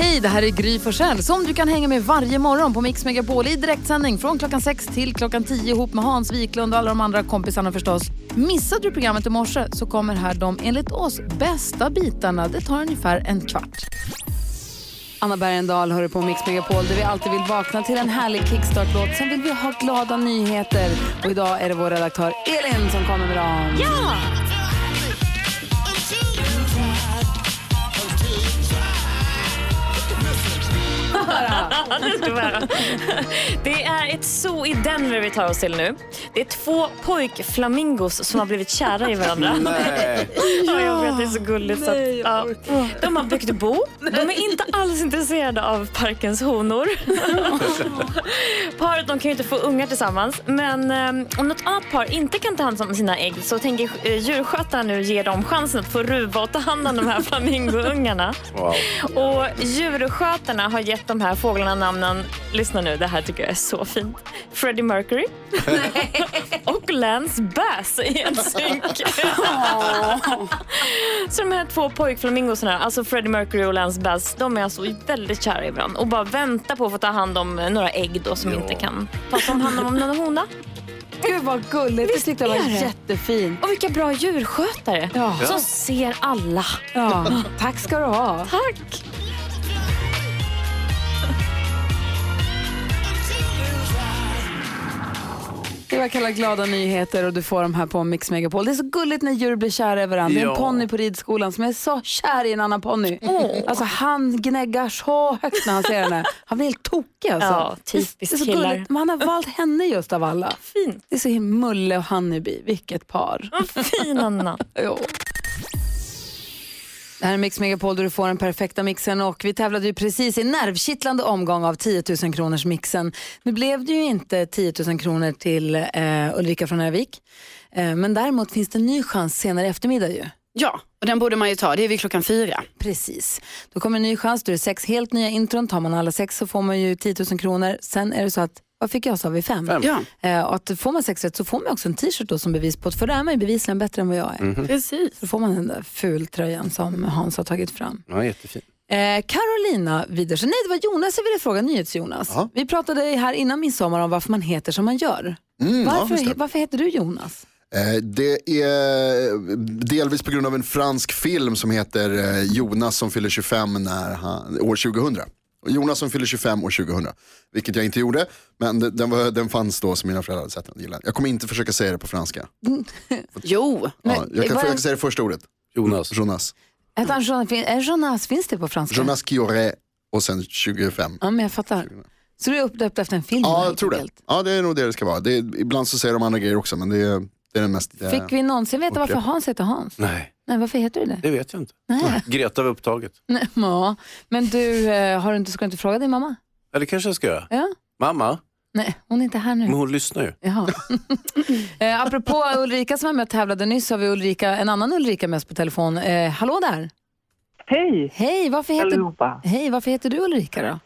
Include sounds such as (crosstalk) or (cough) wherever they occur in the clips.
Hej, det här är Gry Forssell som du kan hänga med varje morgon på Mix Megapol i direktsändning från klockan 6 till klockan 10 ihop med Hans Wiklund och alla de andra kompisarna förstås. Missade du programmet i morse så kommer här de enligt oss bästa bitarna. Det tar ungefär en kvart. Anna Bergendahl hör du på Mix Megapol där vi alltid vill vakna till en härlig kickstart-låt. Sen vill vi ha glada nyheter och idag är det vår redaktör Elin som kommer med dem. Ja! (laughs) Det är ett zoo i Denver vi tar oss till nu. Det är två pojkflamingos som har blivit kära i varandra. Nej. Ja, jag vet, det är så gulligt. så att, ja. De har byggt bo. De är inte alls intresserade av parkens honor. Paret de kan ju inte få ungar tillsammans. Men eh, om något annat par inte kan ta hand om sina ägg så tänker eh, djurskötaren nu ge dem chansen att få ruva och ta hand om de här (laughs) flamingoungarna. Wow. Och djurskötarna har gett de här fåglarna namnen, lyssna nu, det här tycker jag är så fint. Freddie Mercury och Lance Bass i en synk. så de här två pojkflamingosarna, alltså Freddie Mercury och Lance Bass, de är alltså väldigt kära i varandra och bara väntar på att få ta hand om eh, några ägg då som inte kan tas om hand om av någon hona. (laughs) Gud vad gulligt, det Visst tyckte jag var är det? jättefint. Och vilka bra djurskötare Ja. som ser alla. Ja. Tack ska du ha. Tack! Det var kalla glada nyheter och du får dem här på Mix Megapol. Det är så gulligt när djur blir kära i varandra. Det är en Ja. ponny på ridskolan som är så kär i en annan ponny. Alltså han gnäggar så högt när han ser henne. Han blir helt tokig alltså. Ja, typiskt Det är så killar. gulligt. Men Han har valt henne just av alla. Fint. Det är så himla Mulle och Honeybee, vilket par. Fin Anna. Jo. Det här är Mix Megapol där du får den perfekta mixen och vi tävlade ju precis i en nervkittlande omgång av 10 000 kronors mixen. Nu blev det ju inte 10 000 kronor till eh, Ulrika från Övik. Eh, men däremot finns det en ny chans senare i eftermiddag ju. Ja, och den borde man ju ta. Det är vid klockan fyra. Precis. Då kommer en ny chans, då är det sex helt nya intron. Tar man alla sex så får man ju 10 000 kronor. Sen är det så att, vad fick jag sa vi? Fem. Ja, Eh, och att får man sex rätt så får man också en t-shirt då som bevis på att för det är man ju bevisligen bättre än vad jag är. precis. Då får man den där fultröjan som Hans har tagit fram. Ja, jättefin. Eh, Carolina Widersen, nej det var Jonas jag ville fråga, NyhetsJonas. Ja. Vi pratade här innan midsommar om varför man heter som man gör. Mm, ja, Varför, just det. varför heter du Jonas? Eh, Det är delvis på grund av en fransk film som heter eh, Jonas som fyller 25 när han, år 2000. Och Jonas som fyller 25 år 2000, vilket jag inte gjorde. Men de- den, var, den fanns då som mina föräldrar hade sett den. Gillade den. Jag kommer inte försöka säga det (laughs) på franska. Jo, ja, jag kan var- försöka säga det första ordet. Jonas. Jonas. Heter han Jonas, fin- är Jonas, finns det på franska? Mm. Jonas Kiore och sen 25. Ja, men jag fattar. Så du är uppdöpt efter en film? Ja, helt jag tror det. enkelt. Ja, det är nog det det ska vara. Det är, ibland så säger de andra grejer också, men det är, det är den mest... eh, Fick vi någonsin veta varför Okej. Hans heter Hans? Nej, Nej, varför heter du det? det vet jag inte. Nej. Mm. Greta var upptaget. Nej, (laughs) ja. Men du, eh, har du inte, ska du inte fråga din mamma? Eller kanske jag ska göra. Ja? Mamma, Nej, hon är inte här nu. men hon lyssnar ju. Jaha. eh, (laughs) apropå Ulrika som var med och tävlade nyss har vi Ulrika, en annan Ulrika med oss på telefon. Eh, hallå där! Hej Hej varför, heter, allihopa! hej, varför heter du Ulrika då?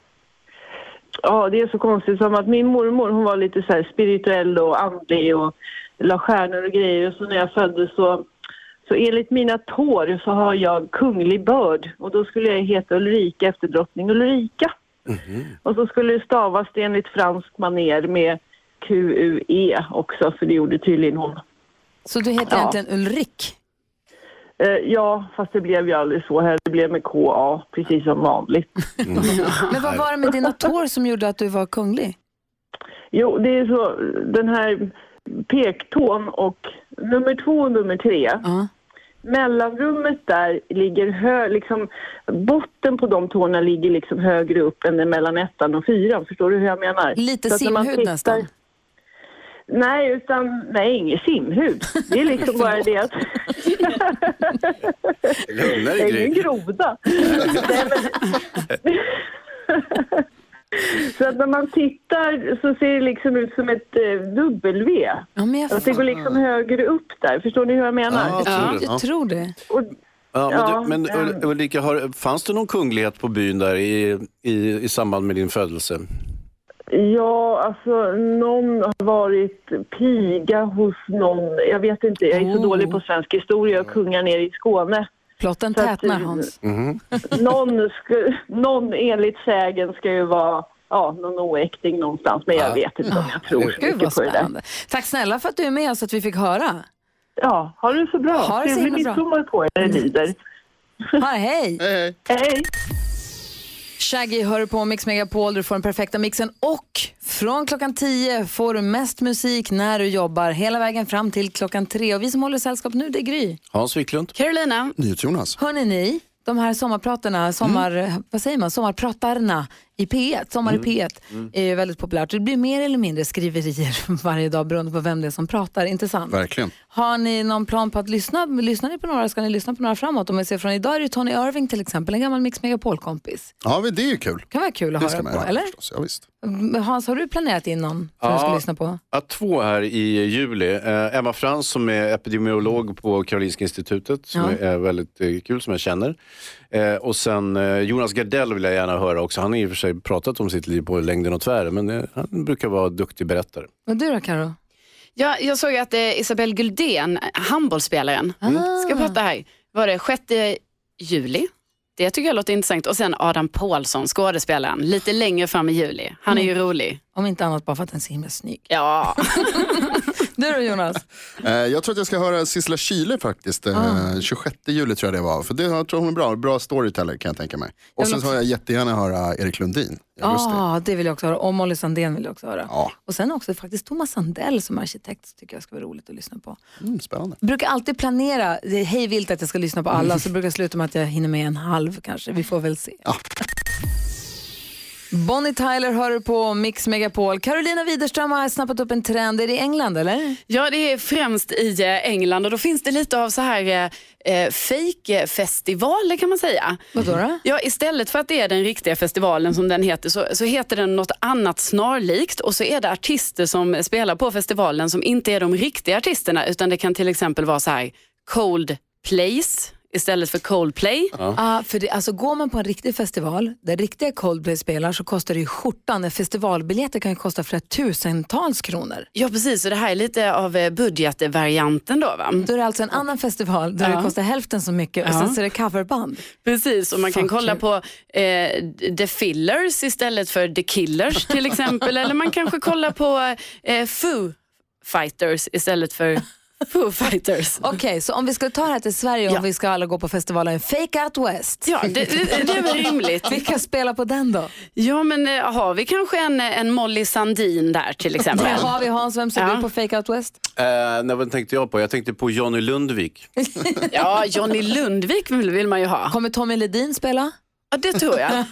Ja, det är så konstigt som att min mormor hon var lite så här spirituell och andlig och la stjärnor och grejer. Och så när jag föddes så, så enligt mina tår så har jag kunglig börd och då skulle jag heta Ulrika efter drottning Ulrika. Och så skulle det stavas det enligt fransk maner med QUE också för det gjorde tydligen hon. Så du heter Ja. egentligen Ulrik? Eh, ja, fast det blev ju aldrig så här. Det blev med KA precis som vanligt. Men vad var det med dina tår som gjorde att du var kunglig? Jo, det är så den här pektån och nummer två och nummer tre. Ja. Mellanrummet där ligger hö, liksom botten på de tårna ligger liksom högre upp än den mellan ettan och fyran. Förstår du hur jag menar? Lite Så att när man simhud tittar- nästan. Nej, utan nej, ingen simhud. Det är liksom (laughs) bara det att Lugna det är ingen groda. Nej, men- Så att när man tittar så ser det liksom ut som ett eh, W. Ja, men jag, Att det går liksom högre upp där. Förstår ni hur jag menar? Ja, ja, absolut. jag tror det. Och, Ja, men Ja, du, men ehm. Ul- Ulrika, har, fanns det någon kunglighet på byn där i, i, i samband med din födelse? ja, alltså någon har varit piga hos någon. Jag vet inte, jag är så Oh. dålig på svensk historia och kungar nere i Skåne. Plotten Så att- tätnar, Hans. Någon, sku, någon enligt sägen ska ju vara ja, någon oäkting någonstans, men jag vet inte om jag tror så Gud, vad mycket på det där. spännande. Tack snälla för att du är med så att vi fick höra. Ja, har du det så bra. Ha det så Trevlig himla bra. midsommar på er, det lider. (laughs) Ha, hej! Hej, hej. Hej! Shaggy hör på Mix Megapol, du får den perfekta mixen och från klockan 10 får du mest musik när du jobbar hela vägen fram till klockan 3. Och vi som håller sällskap nu, det är Gry. Hans Wiklund? Carolina, NyhetsJonas. Hörrni ni, de här Mm. sommarpratarna, sommar, vad säger man, sommarpratarna i P1, Sommar i Mm. P1 är ju väldigt populärt. Det blir mer eller mindre skriverier (laughs) varje dag beroende på vem det är som pratar, inte sant? Verkligen. Har ni någon plan på att lyssna? Lyssnar ni på några? Ska ni lyssna på några framåt? Om vi ser från idag är det Tony Irving till exempel, en gammal Mix Megapol-kompis. Ja, men det är ju kul. Kan vara kul att Det ska höra man på, göra eller? förstås. Ja, visst. Mm, Hans, har du planerat in någon som du ska Ja. lyssna på? Ja, två här i juli. Eh, Emma Frans som är epidemiolog på Karolinska institutet, som Ja. är väldigt eh, kul, som jag känner. Eh, och sen eh, Jonas Gardell vill jag gärna höra också. Han har i och för sig pratat om sitt liv på längden och tvären, men eh, han brukar vara duktig berättare. Och du då Karo? ja, jag såg att eh, Isabel Guldén, handbollsspelaren, Ah. ska prata här. Var det 6 juli? Det tycker jag låter intressant. Och sen Adam Paulsson, skådespelaren, lite längre fram i juli. Han är ju Mm. rolig. Om inte annat bara för att den är så himla snygg. Ja, Du då Jonas? Eh, jag tror att jag ska höra Sissela Kyle faktiskt. Eh, 26 juli tror jag det var. För det, jag tror hon är bra. Bra storyteller kan jag tänka mig. Och sen så har jag Ah. jättegärna höra Erik Lundin i augusti. Ja, Ah, det vill jag också höra. Och Molly Sandén vill jag också höra. Ja. Och sen också faktiskt Thomas Sandell som arkitekt tycker jag ska vara roligt att lyssna på. Mm, spännande. Brukar alltid planera det är hej vilt att jag ska lyssna på alla så brukar det sluta med att jag hinner med en halv kanske. Vi får väl se. Bonnie Tyler hör du på Mix Megapol. Carolina Widerström har snappat upp en trend. Är det i England eller? Ja, det är främst i eh, England och då finns det lite av så här eh, eh, fake-festivaler kan man säga. Vadå då? Ja, istället för att det är den riktiga festivalen som den heter så, så heter den något annat snarlikt och så är det artister som spelar på festivalen som inte är de riktiga artisterna utan det kan till exempel vara så här Cold Place istället för Coldplay. Ja, för det, alltså går man på en riktig festival där riktiga Coldplay spelar så kostar det ju skjortan. Festivalbiljetter kan ju kosta flera tusentals kronor. Ja precis, så det här är lite av eh, budgetvarianten då va? Då är det alltså en annan festival där det kostar hälften så mycket och sen så är det coverband. Precis, och man kan Fuck kolla you. på eh, The Fillers istället för The Killers (laughs) till exempel. Eller man kanske kollar på eh, Foo Fighters istället för Foo Fighters. Okej, så om vi skulle ta det här till Sverige och Ja. om vi ska alla gå på festivalen Fake Out West. Ja, det, det, det är väl rimligt. Vilka spelar på den då? Ja, men eh, har vi kanske en, eh, en Molly Sandin där till exempel? Där har vi Hans, vem ser Ja. du på Fake Out West? Eh, nej, vad tänkte jag på? Jag tänkte på Johnny Lundvik. Ja, Johnny Lundvik vill, vill man ju ha. Kommer Tommy Ledin spela? Ja, det tror jag. Eh,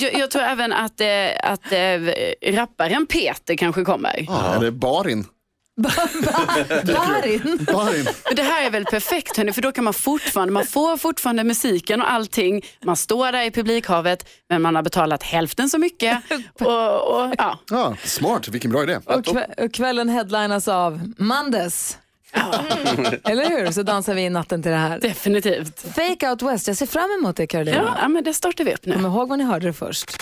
Jag, jag tror även att, eh, att eh, rapparen Peter kanske kommer. Ja. Eller Barin. Darin? (laughs) Barin. Men Det här är väl perfekt hörni, för då kan man fortfarande, man får fortfarande musiken och allting. Man står där i publikhavet, men man har betalat hälften så mycket. Och, och, ja. Ja, smart, vilken bra idé. Och, kve- och kvällen headlinas av Mandes. (laughs) Eller hur? Så dansar vi i natten till det här. Definitivt. Fake Out West, jag ser fram emot det Carolina. Ja, ja, men det startar vi upp nu. Kom ihåg var ni hörde det först.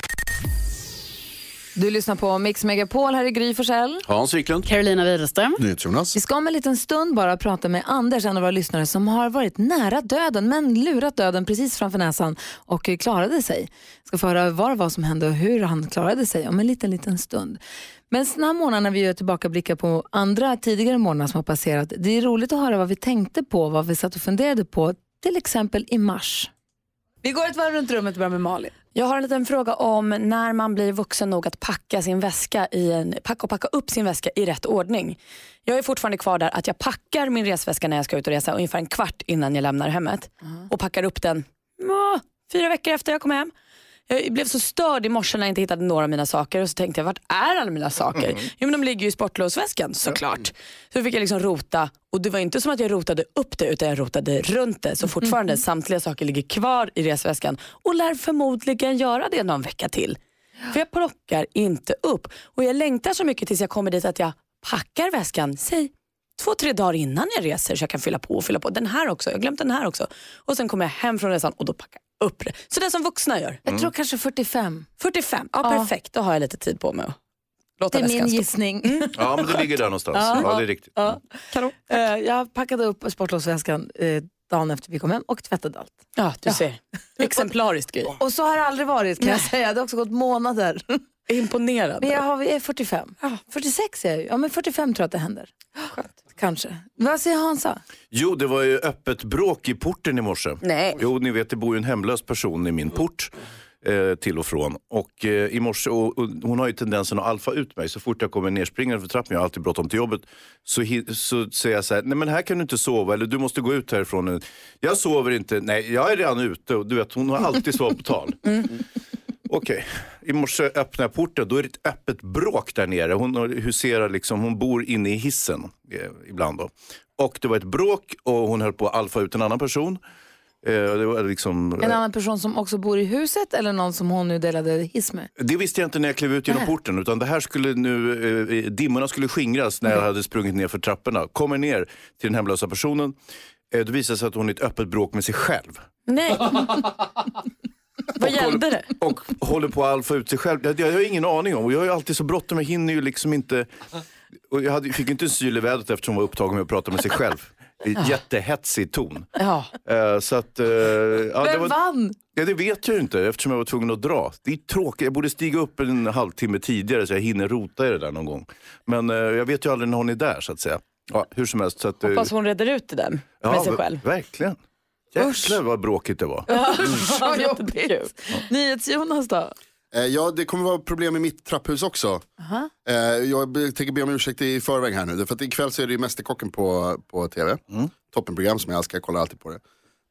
Du lyssnar på Mix Megapol, här i Gry Forssell. Hans Wiklund? Carolina Widerström. NyhetsJonas. Vi ska om en liten stund bara prata med Anders, en av våra lyssnare som har varit nära döden men lurat döden precis framför näsan och eh, klarade sig. Ska få höra vad det var som hände och hur han klarade sig om en liten, liten stund. Men sådana här morgnar när vi gör tillbakablickar på andra tidigare morgnar som har passerat, det är roligt att höra vad vi tänkte på, vad vi satt och funderade på, till exempel i mars. Vi går ett varv runt rummet och börjar med Malin. Jag har en liten fråga om när man blir vuxen nog att packa sin väska i en, packa och packa upp sin väska i rätt ordning. Jag är fortfarande kvar där att jag packar min resväska när jag ska ut och resa ungefär en kvart innan jag lämnar hemmet och packar upp den ja, fyra veckor efter jag kom hem. Jag blev så störd i morse när jag inte hittade några av mina saker och så tänkte jag, vart är alla mina saker? Jo men de ligger ju i sportlovsväskan såklart. Så fick jag liksom rota och det var inte som att jag rotade upp det utan jag rotade runt det. Så fortfarande samtliga saker ligger kvar i resväskan och lär förmodligen göra det någon vecka till. För jag plockar inte upp. Och jag längtar så mycket tills jag kommer dit att jag packar väskan, säg två, tre dagar innan jag reser så jag kan fylla på och fylla på. Den här också, jag har glömt den här också. Och sen kommer jag hem från resan och då packar jag upp det. Så det som vuxna gör. Jag tror kanske 45. 45, ja, Ja. perfekt. Då har jag lite tid på mig att låta Det är min väskan stå. gissning. Ja, men det ligger där någonstans. Ja, det är riktigt. Ja. (laughs) Eh, jag packade upp sportlovsväskan eh, dagen efter vi kom hem och tvättade allt. Ja, du ser. Exemplariskt grej. Och så har det aldrig varit kan jag säga. Det har också gått månader. Imponerad. Men jag, har, jag är 45. 46 är jag ju. Ja, men 45 tror jag att det händer. Kanske. Vad säger Hansa? Jo, det var ju öppet bråk i porten i morse. Nej. Jo, ni vet, det bor ju en hemlös person i min port. Eh, till och från. Och eh, i morse, och, och hon har ju tendensen att alfa ut mig. Så fort jag kommer nerspringande för trappan, jag har alltid bråttom till jobbet. Så, hi- så säger jag så här, nej men här kan du inte sova eller du måste gå ut härifrån. Jag sover inte, nej jag är redan ute. Och du vet, hon har alltid svar på tal. Okej, i morse öppnade jag porten. Då är det ett öppet bråk där nere. Hon har- huserar liksom, hon bor inne i hissen eh, ibland då. Och det var ett bråk och hon höll på att alfa ut en annan person. Eh, det, var liksom, En annan person som också bor i huset eller någon som hon nu delade hiss med? eh, det visste jag inte när jag klev ut Äh. genom porten. Utan det här skulle nu, eh, dimmorna skulle skingras när jag Mm. hade sprungit ner för trapporna. Kommer ner till den hemlösa personen. Eh, det visade sig att hon är i ett öppet bråk med sig själv. (laughs) Nej. Vad gällde det? och håller på att alfa ut sig själv. Det, det har jag ingen aning om. Och jag har ju alltid så bråttom, jag hinner ju liksom inte. Och jag hade, fick ju inte en syl i vädret eftersom hon var upptagen med att prata med sig själv. I jättehetsig ton. Ja. Eh, så att, eh, ja, det, Vem var, vann? ja, det vet jag ju inte eftersom jag var tvungen att dra. Det är tråkigt, jag borde stiga upp en halvtimme tidigare så jag hinner rota i det där någon gång. Men eh, jag vet ju aldrig när hon är där så att säga. Ja, hur som helst. Så att, eh, Hoppas hon reder ut det där med sig ver- (laughs) själv. Verkligen. Jäklar vad bråkigt det var. (laughs) Vad jobbigt. NyhetsJonas då? Eh, ja, det kommer vara problem i mitt trapphus också. Eh, jag be- tänker be om ursäkt i förväg här nu. För att ikväll så är det ju Mästerkocken på, på tv. Mm. Toppenprogram som jag älskar, jag kollar alltid på det.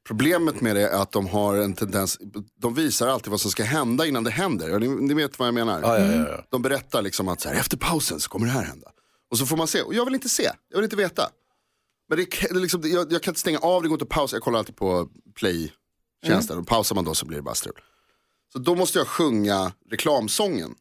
Problemet med det är att de har en tendens, de visar alltid vad som ska hända innan det händer. Ja, Ni, ni vet vad jag menar. Ja, ja, ja, ja. De berättar liksom att så här, efter pausen så kommer det här hända. Och så får man se, och jag vill inte se, jag vill inte veta. Men det, är liksom, det- jag, jag kan inte stänga av, det går inte att pausa, jag kollar alltid på play-tjänsten. Och pausar man då så blir det bara strul. Så då måste jag sjunga reklamsången.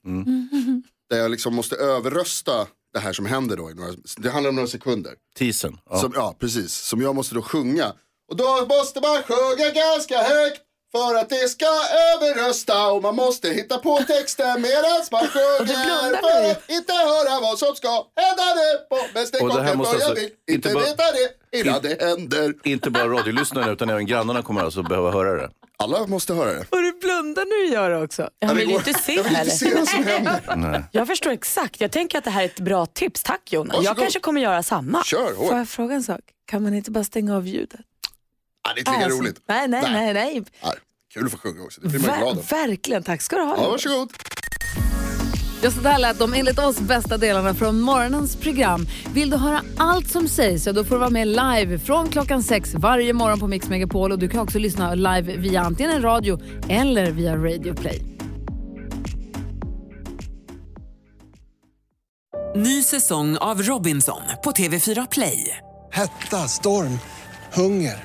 Där jag liksom måste överrösta det här som händer då. I några, det handlar om några sekunder. Teasern. Ja. Som, ja, precis. Som jag måste då sjunga. Och då måste man sjunga ganska högt. För att det ska överrösta och man måste hitta på texten medans (laughs) man sjunger för att inte höra vad som ska hända nu på Och det här Mästerkocken måste för jag alltså vill inte inte bara- veta det innan inte- det händer. Inte bara radiolyssnarna utan även grannarna kommer alltså behöva höra det. Alla måste höra det. Och du blundar när du gör det också. Han det vill ju går- inte se Jag vill inte heller. se vad som händer. Jag förstår exakt. Jag tänker att det här är ett bra tips. Tack Jonas. Jag Varsågod. kanske kommer göra samma. Kör hårt. Får jag fråga en sak? Kan man inte bara stänga av ljudet? Ja, det är inte lika roligt. Nej, nej, nej. nej. Nej, Kul att få sjunga också, det blir man Ver- ju glad av. verkligen, tack ska du ha. Ja, varsågod. Ja, så där lät de enligt oss bästa delarna från morgonens program. Vill du höra allt som sägs så då får du vara med live från klockan sex varje morgon på Mix Megapol. Och du kan också lyssna live via antingen en radio eller via Radio Play. Ny säsong av Robinson på TV4 Play. Hetta, storm, hunger.